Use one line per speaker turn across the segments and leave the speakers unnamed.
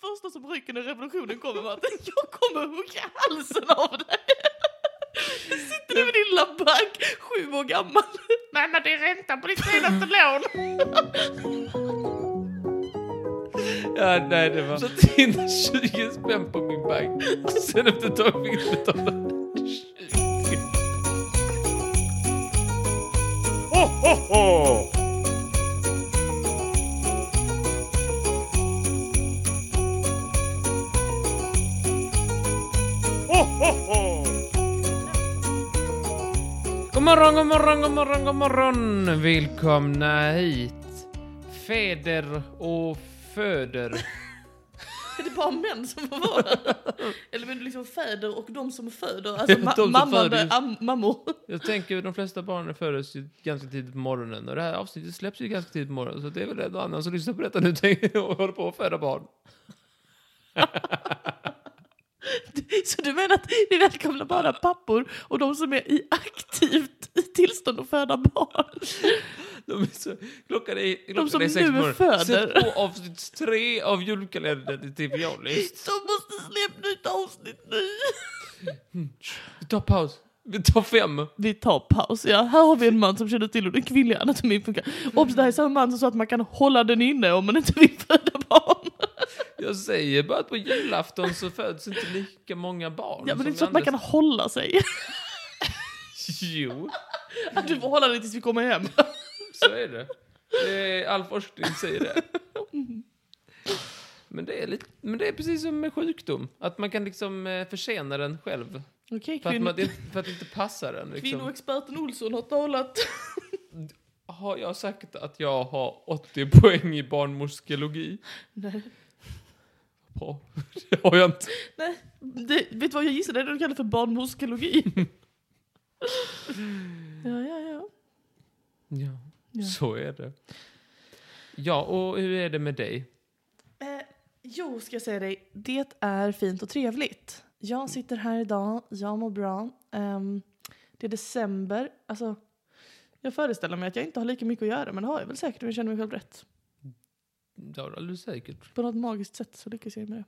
första som ryker när revolutionen kommer Martin. Jag kommer hugga halsen av dig. Sitter du med din lilla bagg, sju år gammal. Mamma, det är ränta på ditt senaste lån.
Ja, nej, det var... Satt in 20 spänn på min bank. Sen efter ett tag fick jag betala 20. God morgon, god morgon, god morgon, god morgon! Välkomna hit. Fäder och föder.
Är det bara män som får vara där? Eller menar du liksom fäder och de som föder? Alltså ma-
De som
mamman,
föder.
där, am- mammor.
Jag tänker de flesta barnen föds ju ganska tidigt på morgonen och det här avsnittet släpps ju ganska tidigt på morgonen så det är väl någon annan som lyssnar på detta nu tänker- och håller på att föda barn.
Så du menar att vi välkomnar bara pappor och de som är i aktivt i tillstånd att föda barn?
De är så, klockan är, klockan
som
är sex
nu
på morgonen.
föder.
Sätt på avsnitt tre av julkalendern till TV Jollys.
De måste släppa nytt avsnitt nu.
Vi tar paus. Vi tar fem.
Vi tar paus. Ja, här har vi en man som känner till hur den kvinnliga anatomin funkar. Obs, det här är samma man som sa att man kan hålla den inne om man inte vill föda barn.
Jag säger bara att på julafton så föds inte lika många barn.
Ja, men det är
som
inte så att man kan
andra-
hålla sig.
Jo,
Att du får hålla dig tills vi kommer hem.
så är det. det är, all forskning säger det. Men det, är lite, men det är precis som med sjukdom. Att man kan liksom eh, försena den själv.
Okej,
För att, man,
kvinnor.
det, för att det inte passar den. Liksom.
Kvinnoexperten Olsson har talat.
Har jag sagt att jag har 80 poäng i barnmorskologi?
Nej.
Bra. Det har jag inte.
Nej. Det, vet du vad jag gissade? Det är det de kallar för barnmorskologi. ja, ja, ja.
Ja,
Ja.
så är det. Ja, och hur är det med dig?
Eh, jo, ska jag säga dig. Det är fint och trevligt. Jag sitter här idag, jag mår bra. Ehm, det är december. Alltså, jag föreställer mig att jag inte har lika mycket att göra, men det har jag väl säkert om jag känner mig själv rätt.
Det har du alldeles säkert.
På något magiskt sätt så lyckas jag med det.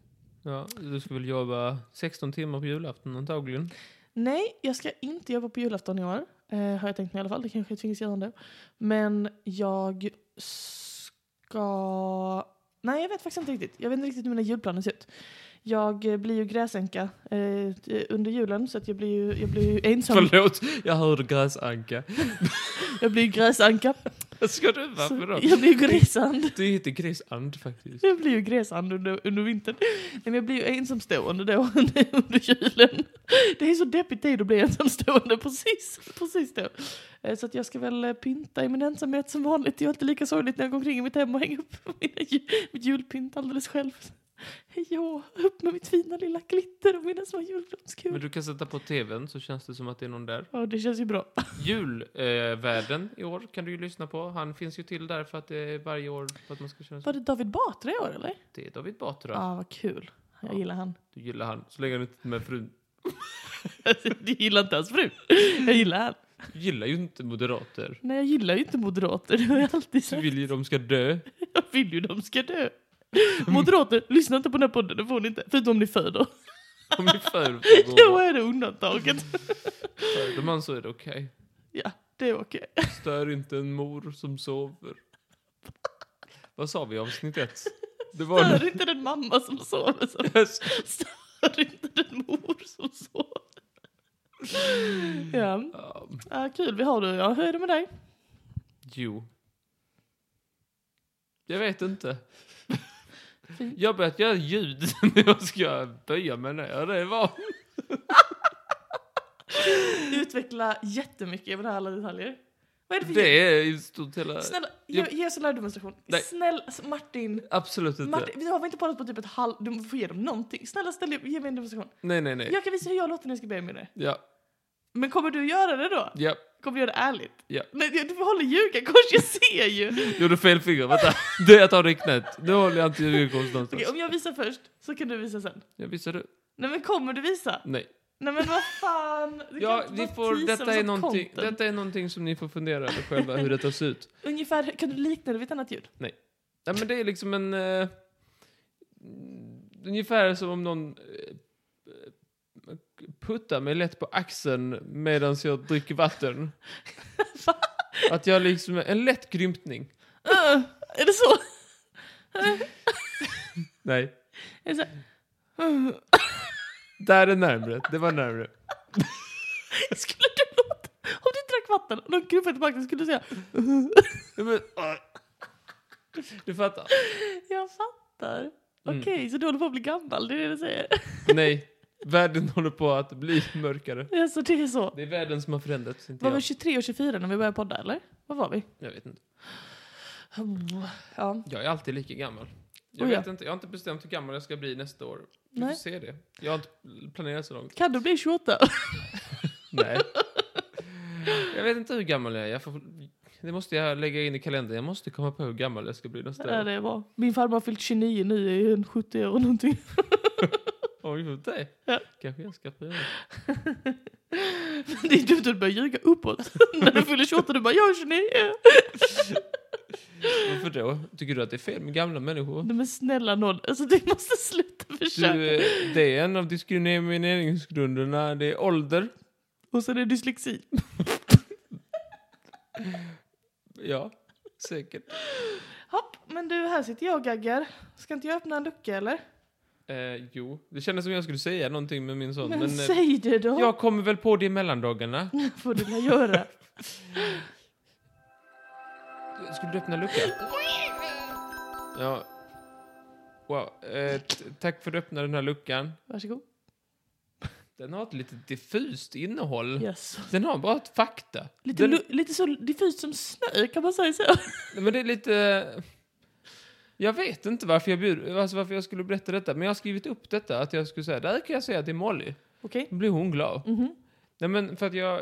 Ja, du ska väl jobba 16 timmar på julafton antagligen.
Nej, jag ska inte jobba på julafton i år. Eh, har jag tänkt mig i alla fall. Det kanske tvingas göra det. Men jag ska... Nej, jag vet faktiskt inte riktigt. Jag vet inte riktigt hur mina julplaner ser ut. Jag eh, blir ju gräsänka eh, under julen så att jag blir ju, jag blir ju ensam.
Förlåt, jag hörde gräsanka.
Jag blir ju gräsanka.
Vad Ska du
Så
varför då?
jag blir ju gräsand.
Du heter gräsand faktiskt.
Jag blir ju gräsand under, under vintern. Nej, men jag blir ju ensamstående då under julen. Det är så deppig tid att bli ensamstående precis, precis då. Eh, Så att jag ska väl eh, pynta i min ensamhet som vanligt. Det är ju alltid lika sorgligt när jag går omkring i mitt hem och hänger upp mina, ju- mitt julpynt alldeles själv. Hej då, upp med mitt fina lilla glitter och mina små
Men
julblomskor.
du kan sätta på tvn så känns det som att det är någon där.
Ja, det känns ju bra.
Julvärden eh, i år kan du ju lyssna på. Han finns ju till där för att det är varje år för att man ska känna sig...
Var det David Batra i år eller?
Det är David Batra.
Ja, ah, vad kul. Jag
Ja.
gillar han.
Du gillar han. Så länge han inte är med frun.
Jag gillar inte hans fru. Jag gillar han.
Du gillar ju inte moderater.
Nej, jag gillar ju inte moderater. Det har jag alltid sagt.
Du vill ju de ska dö.
Jag vill ju de ska dö. Mm. Moderater, lyssna inte på den här podden, det får ni inte. Förutom om ni föder.
Om ni för
Då är det undantaget.
Föder man så är det okej.
Ja, det är okej.
Stör inte en mor som sover. Vad sa vi i avsnitt ett? Det var
Stör inte den mamma som sover. som- Stör inte den mor som sover. Ja,
Ja,
ah, kul vi har det. Ja, hur är det med dig?
jo. Jag vet inte.
Fint.
Jag har börjat göra ljud när jag ska böja mig ner. Det var...
Utveckla jättemycket över det här alla detaljer. Vad är det för ljud?
Det är i stort hela...
Snälla, ge, ge oss en lärdemonstration.
Nej.
Snälla, Martin.
Absolut inte.
Martin, vi har väl inte pratat på typ ett halv... Du får ge dem någonting. Snälla, ställ dig upp, ge mig en demonstration.
Nej, nej, nej.
Jag kan visa hur jag låter när jag ska be med det.
Ja,
Men kommer du göra det då?
ja.
Kommer du göra det ärligt?
Ja.
Nej, du får hålla ljugarkors, jag ser ju! Okej,
Gjorde fel finger. Vänta. Det jag tar det i knät. Nu håller jag inte ljudkonst någonstans.
om jag visar först så kan du visa sen.
Jag visar du.
Nej men kommer du visa?
Nej.
Nej men vad fan! Du
Ja,
kan inte
ni
bara
får,
teasa
detta,
med sånt
är någonting,
content.
detta är någonting som ni får fundera över själva hur detta ser ut.
Ungefär, kan du likna det vid ett annat ljud?
Nej, men det är liksom en... Eh, ungefär som om någon eh, puttar mig lätt på axeln medan jag dricker vatten. att jag liksom, en lätt grymtning.
Äh, är det så?
Nej,
Är det så här? Äh,
där är närmre. Det var närmre.
skulle du låta... Om du drack vatten och någon gubbade tillbaka så skulle du säga
Nej, men, ah. Du fattar?
Jag fattar. Okej,
Mm.
så du håller på att bli gammal, det är det du säger?
Nej, världen håller på att bli mörkare.
Alltså det är så.
Det är världen som har förändrats, inte
Var vi
jag.
23 och 24 när vi började podda eller? Vad var vi? Oh,
Jag vet inte.
Ja.
Jag är alltid lika gammal. Jag,
Oh ja.
vet inte, jag har inte bestämt hur gammal jag ska bli nästa år. Vi får
Nej.
se det. Jag har inte planerat så långt.
Kan du bli 28?
Nej. Jag vet inte hur gammal jag är. Jag får, det måste jag lägga in i kalendern. Jag måste komma på hur gammal jag ska bli nästa
Ja,
år.
det är bra. Min farmor har fyllt 29 nu, är hon 70 år någonting.
Oj, för dig.
Ja.
Kanske jag ska pröva.
Det är dumt att du börjar ljuga uppåt. När du fyller 28 du bara jag är 29.
Varför då? Tycker du att det är fel med gamla människor?
Nej, men snälla nån, alltså du måste sluta försöka.
Du, eh, det är en av diskrimineringsgrunderna. Det är ålder.
Och sen är det dyslexi.
Ja, säkert.
Hopp, men du här sitter jag och gaggar. Ska inte jag öppna en lucka eller?
Eh, jo, det kändes som jag skulle säga någonting med min son.
men,
Men, eh,
säg det då.
jag kommer väl på det i mellandagarna.
får du väl göra.
Skulle du öppna luckan? Ja. Wow. Eh, t- tack för att du öppnade den här luckan.
Varsågod.
Den har ett lite diffust innehåll.
Yes.
Den har bara ett fakta.
Lite,
den,
lu- lite så diffust som snö, kan man säga så?
Nej, men det är lite... Jag vet inte varför jag, bjud, alltså varför jag skulle berätta detta, men jag har skrivit upp detta. Att jag skulle säga, där kan jag säga att det är Molly.
Okej.
Då blir hon glad.
Mhm.
Nej, men för att jag...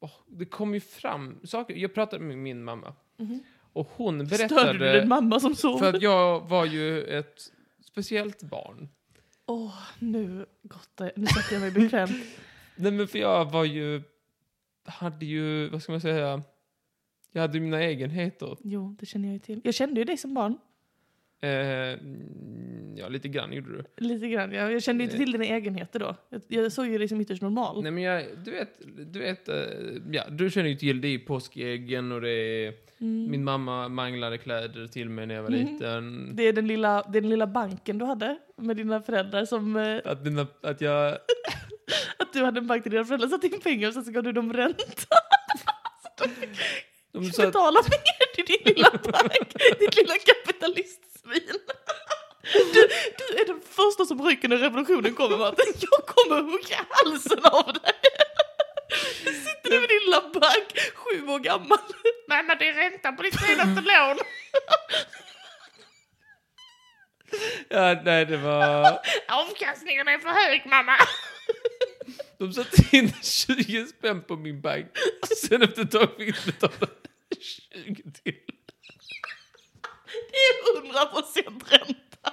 Åh, det kom ju fram saker. Jag pratade med min mamma.
Mhm.
Och hon berättade...
Störde du din mamma som sov?
För att jag var ju ett speciellt barn.
Åh, nu gott det. Nu sätter jag mig bekvämt.
Nej men för jag var ju, hade ju, vad ska man säga, jag hade ju mina egenheter.
Jo, det känner jag ju till. Jag kände ju dig som barn.
Eh, mm, ja, lite grann gjorde du.
Lite grann. Jag, jag kände ju inte till dina egenheter då. Jag, jag såg ju dig som ytterst normal.
Nej men jag, du vet, du vet, eh, ja, du känner ju till det är påskäggen och det är,
Mm.
min mamma manglade kläder till mig när jag var
Mhm.
liten.
Det är den lilla, det är den lilla banken du hade med dina föräldrar som... Eh,
Att, dina, att jag,
att du hade en bank där dina föräldrar satte in pengar och sen så gav du dem ränta.
de
Du
sa att,
betalade mer till din lilla bank. Ditt lilla kapitalistsvin. Du, du är den första som rycker när revolutionen kommer Martin. Jag kommer hugga halsen av dig. Sitter du med din lilla bank, sju år gammal. Mamma det är ränta på ditt senaste lån.
ja, nej det var,
Avkastningen är för hög mamma.
de satte in 20 spänn på min bank. Sen efter ett tag fick jag betala 20 till.
Det är 100 procent ränta.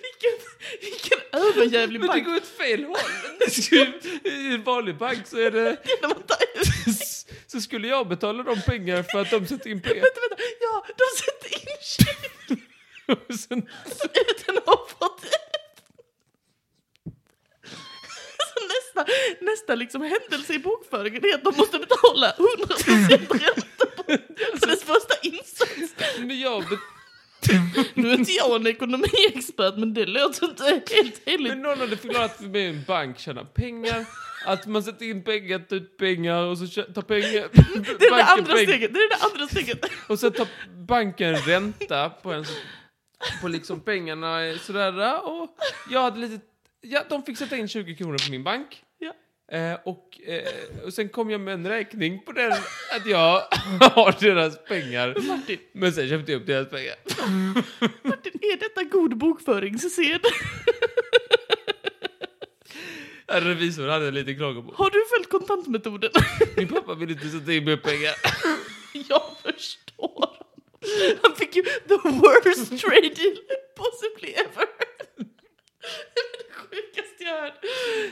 vilken, vilken överjävlig
Men det
bank.
går åt fel håll. Det skulle- I en vanlig bank så är det...
Vänta, vänta,
Så skulle jag betala dem pengar för att de sätter in pengar.
vänta. Ja, de sätter in tjuven
Och sen,
utan att ha fått ut. Så nästa, nästa liksom händelse i bokföringen är att de måste betala 100 procent ränta på, på dess första insats.
men jag bet-
Nu är inte jag en ekonomiexpert, men det låter inte helt heligt.
men någon hade förklarat för mig hur en bank tjänar pengar. Att man sätter in pengar, tar ut pengar och så tjä- tar pengar...
Det är det andra steget. Det är det andra steget.
Och så tar banken ränta på ens... På liksom pengarna sådär. Och jag hade lite... Ja, de fick sätta in 20 kronor på min bank.
Ja.
Eh, och, eh, och sen kom jag med en räkning på den att jag har deras pengar.
Martin,
Men sen köpte jag upp deras pengar.
Martin, är detta god bokföringssed?
Revisorn hade lite klagomål.
Har du följt kontantmetoden?
Min pappa ville inte sätta in mer pengar.
Jag förstår. Han fick ju the worst trade deal possibly ever. Det är det sjukaste jag hört.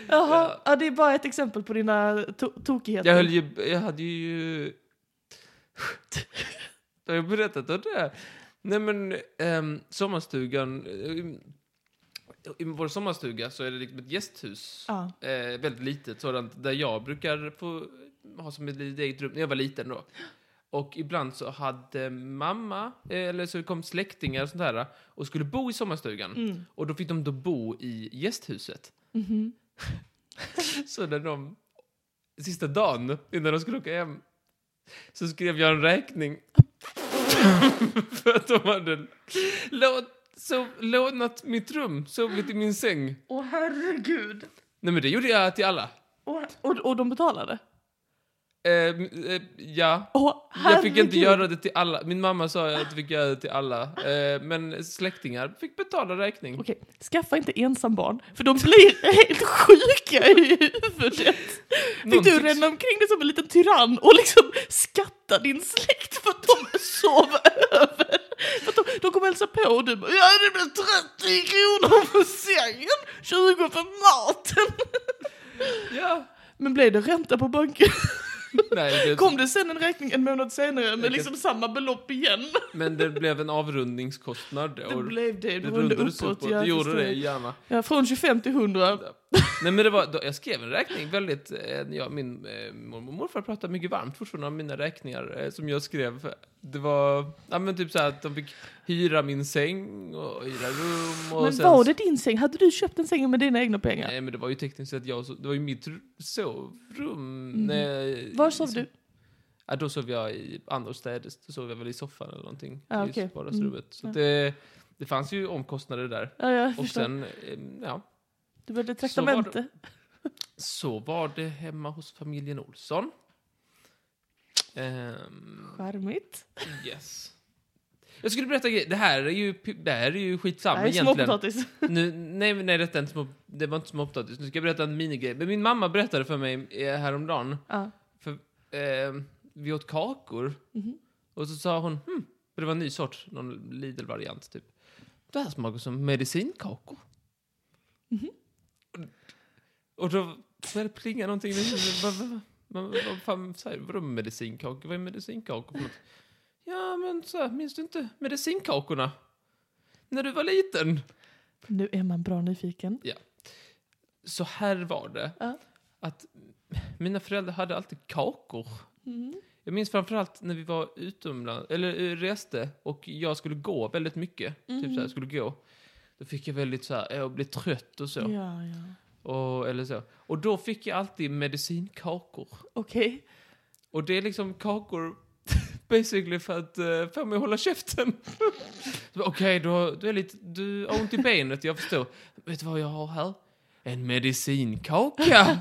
Jaha, ja, det är bara ett exempel på dina to- tokigheter.
Jag höll ju... Jag hade ju... Har jag berättat om det? Nej men, ehm, sommarstugan. ehm, I vår sommarstuga så är det liksom ett gästhus.
Ja.
Eh, väldigt litet sådant. Där jag brukar få ha som ett litet eget rum. När jag var liten då. Och ibland så hade mamma, eh, eller så kom släktingar och sånt här. Och skulle bo i sommarstugan.
Mm.
Och då fick de då bo i gästhuset.
Mhm.
Så när de, sista dagen innan de skulle åka hem, så skrev jag en räkning. För att de hade lån, så, lånat mitt rum, sovit i min säng.
Åh herregud.
Nej men det gjorde jag till alla.
Och, och, och de betalade?
Eh, eh, ja.
Åh
Jag fick inte
herregud.
göra det till alla. Min mamma sa att jag fick göra det till alla. Eh, men släktingar fick betala räkning.
Okej, skaffa inte ensam barn för de blir helt sjuka i huvudet. Fick
Någon
du
tycks-
ränna omkring dig som en liten tyrann och liksom skatta din släkt för att de sov över? För att de, de kom hälsa på och du bara ja det blir 30 kronor för sängen, 20 för maten.
Ja.
Men blev det ränta på banken?
Nej, det,
Kom det sen en räkning en månad senare med liksom samma belopp igen?
men det blev en avrundningskostnad.
Det
och
blev det, det runda
rundades
uppåt.
uppåt.
ja,
Det gjorde
förstår
det,
jag.
gärna.
Ja, från 25 till 100.
Nej men det var, då, jag skrev en räkning väldigt, eh, ja, min eh, mormor och morfar pratar mycket varmt fortfarande om mina räkningar eh, som jag skrev. Det var, ja men typ så här att de fick hyra min säng och hyra rum och
Men
sen...
var det din säng? Hade du köpt en säng med dina egna pengar?
Nej men det var ju tekniskt sett jag, så- det var ju mitt r- sovrum.
Mhm.
Nej,
Var
i-
sov du?
Ja, då sov jag i annorstädes, då sov jag väl i soffan eller någonting.
Ja,
i
okej.
vardagsrummet. Så
Ja.
det, det fanns ju omkostnader där.
Ja, jag
Och
förstår.
sen, eh, ja,
du behövde
så var det.
traktamente.
Så var det hemma hos familjen Olsson. Ehm,
Charmigt.
yes. Jag skulle berätta grej- Det här är ju, pi- det här är ju skitsamma
Nej,
egentligen.
småpotatis.
Nu, nej, nej detta är inte små, det var inte småpotatis. Nu ska jag berätta en minigrej. Men min mamma berättade för mig eh, häromdagen.
Ja.
För, ehm, vi åt kakor.
Mhm.
Och så sa hon, hm, för det var en ny sort, någon Lidl-variant typ. Det här smakar som medicinkakor. Och, och då började det plinga någonting. i mitt huvud. Vad- vad- vad- vad- Vad fan säger du? Vadå medicinkakor? Vad är medicinkakor för något? Ja, men så här, minns du inte medicinkakorna? När du var liten?
Nu är man bra nyfiken.
Så här var det.
Ja.
Att mina föräldrar hade alltid kakor.
Mm.
Jag minns framförallt när vi var utomlands, eller eh, reste och jag skulle gå väldigt mycket. Typ
Mhm.
så här, skulle gå. Då fick jag väldigt så här, jag blev trött och så.
Ja, ja.
Och, eller så. Och då fick jag alltid medicinkakor.
Okej.
Och det är liksom kakor basically för att eh, få mig att hålla käften. Så bara, Okej, du, har- du är lite, du har ont i benet, jag förstår. Vet du vad jag har här? En medicinkaka!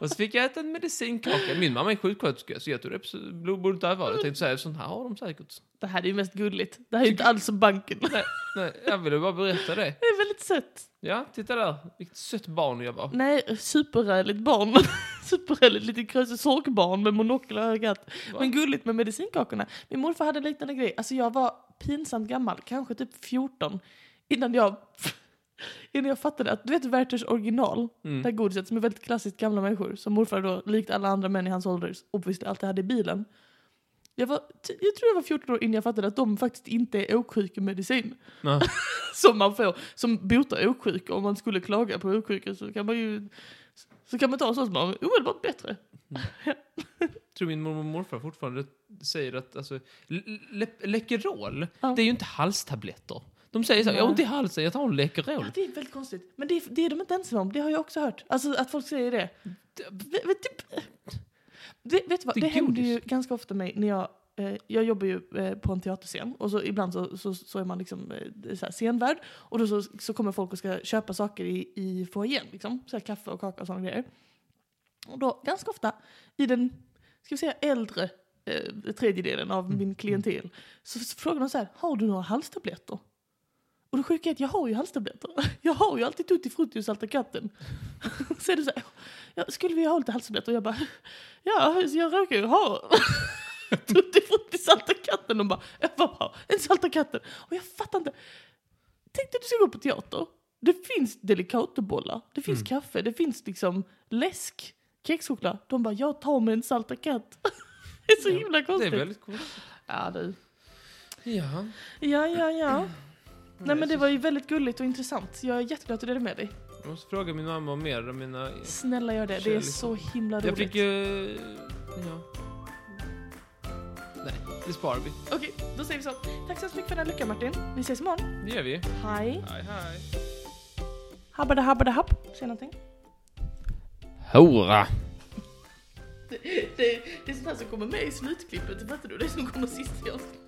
och så fick jag äta en medicinkaka. Min mamma är sjuksköterska, så jag tog upp blodbordet allvar. Jag tänkte säga, sånt här har de säkert.
Det här är ju mest gulligt. Det här är ju inte alls som banken.
Nej, nej, jag ville bara berätta det.
Det är väldigt sött.
Ja, titta där. Vilket sött barn jag var.
Nej, superräligt barn. superräligt litet krösigt sorkbarn med monokel och ögat.
Va?
Men gulligt med medicinkakorna. Min morfar hade en liknande grej. Alltså jag var pinsamt gammal, kanske typ 14, innan jag, innan jag fattade att, du vet Werthers original?
Mm.
Det här godiset som är väldigt klassiskt gamla människor. Som morfar då, likt alla andra män i hans ålder, obviously alltid hade i bilen. Jag, var, ty- jag tror jag var 14 år innan jag fattade att de faktiskt inte är åksjukemedicin.
Nej.
som man får, som botar åksjuka. Om man skulle klaga på åksjuka så kan man ju så kan man ta en sån som man omedelbart bättre.
tror min mormor och morfar fortfarande säger att alltså, l- l- Läkerol,
Ja.
det är ju inte halstabletter. De säger så här, jag har ont i halsen, jag tar en
Ja,
Läkerol.
det är väldigt konstigt. Men det är, det är de inte ensamma om, det har jag också hört. Alltså att folk säger det. Det- Vet, det- det, vet du vad,
Det
det,
är
händer ju
godis.
ganska ofta mig när jag eh, jag jobbar ju eh, på en teaterscen och så ibland så, så, så är man liksom eh, så här scenvärd och då så, så kommer folk och ska köpa saker i, i foajén, liksom. Så här kaffe och kaka och sådana grejer. Och då ganska ofta i den, ska vi säga äldre eh, tredjedelen av
Mm.
min klientel så frågar de så här, har du några halstabletter? Och det sjuka är att jag har ju halstabletter. Jag har ju alltid Tutti Frutti och Salta katten. Så är det så här, ja, skulle vi ha lite halstabletter? Och jag bara, ja, så jag råkar ju ha Tutti Frutti Salta katten. De bara, ja, vad bra, en Salta katten. Och jag fattar inte. Tänk dig att du ska gå på teater. Det finns delikatobollar, det finns
Mm.
kaffe, det finns liksom läsk, kexchoklad. De bara, jag tar med en Salta katt. Det är så
Ja,
himla
Det är
konstigt.
väldigt coolt.
Ja, du.
Ja.
Ja, ja, ja. Nej men det var ju väldigt gulligt och intressant. Jag är jätteglad att du delade med dig.
Jag måste fråga min mamma om mer om mina...
Snälla gör det, det är så himla roligt.
Jag fick ju... Ja. Nej, det sparar vi.
Okej, då säger vi så. Tack så hemskt mycket för den här luckan Martin. Vi ses imorgon.
Det gör vi.
Hej.
Hej, hej.
Habbada habbada happ. Säg någonting.
Hora!
Det, det, det är sånt här som kommer med i slutklippet, fattar du? Det är som kommer sist i avsnittet.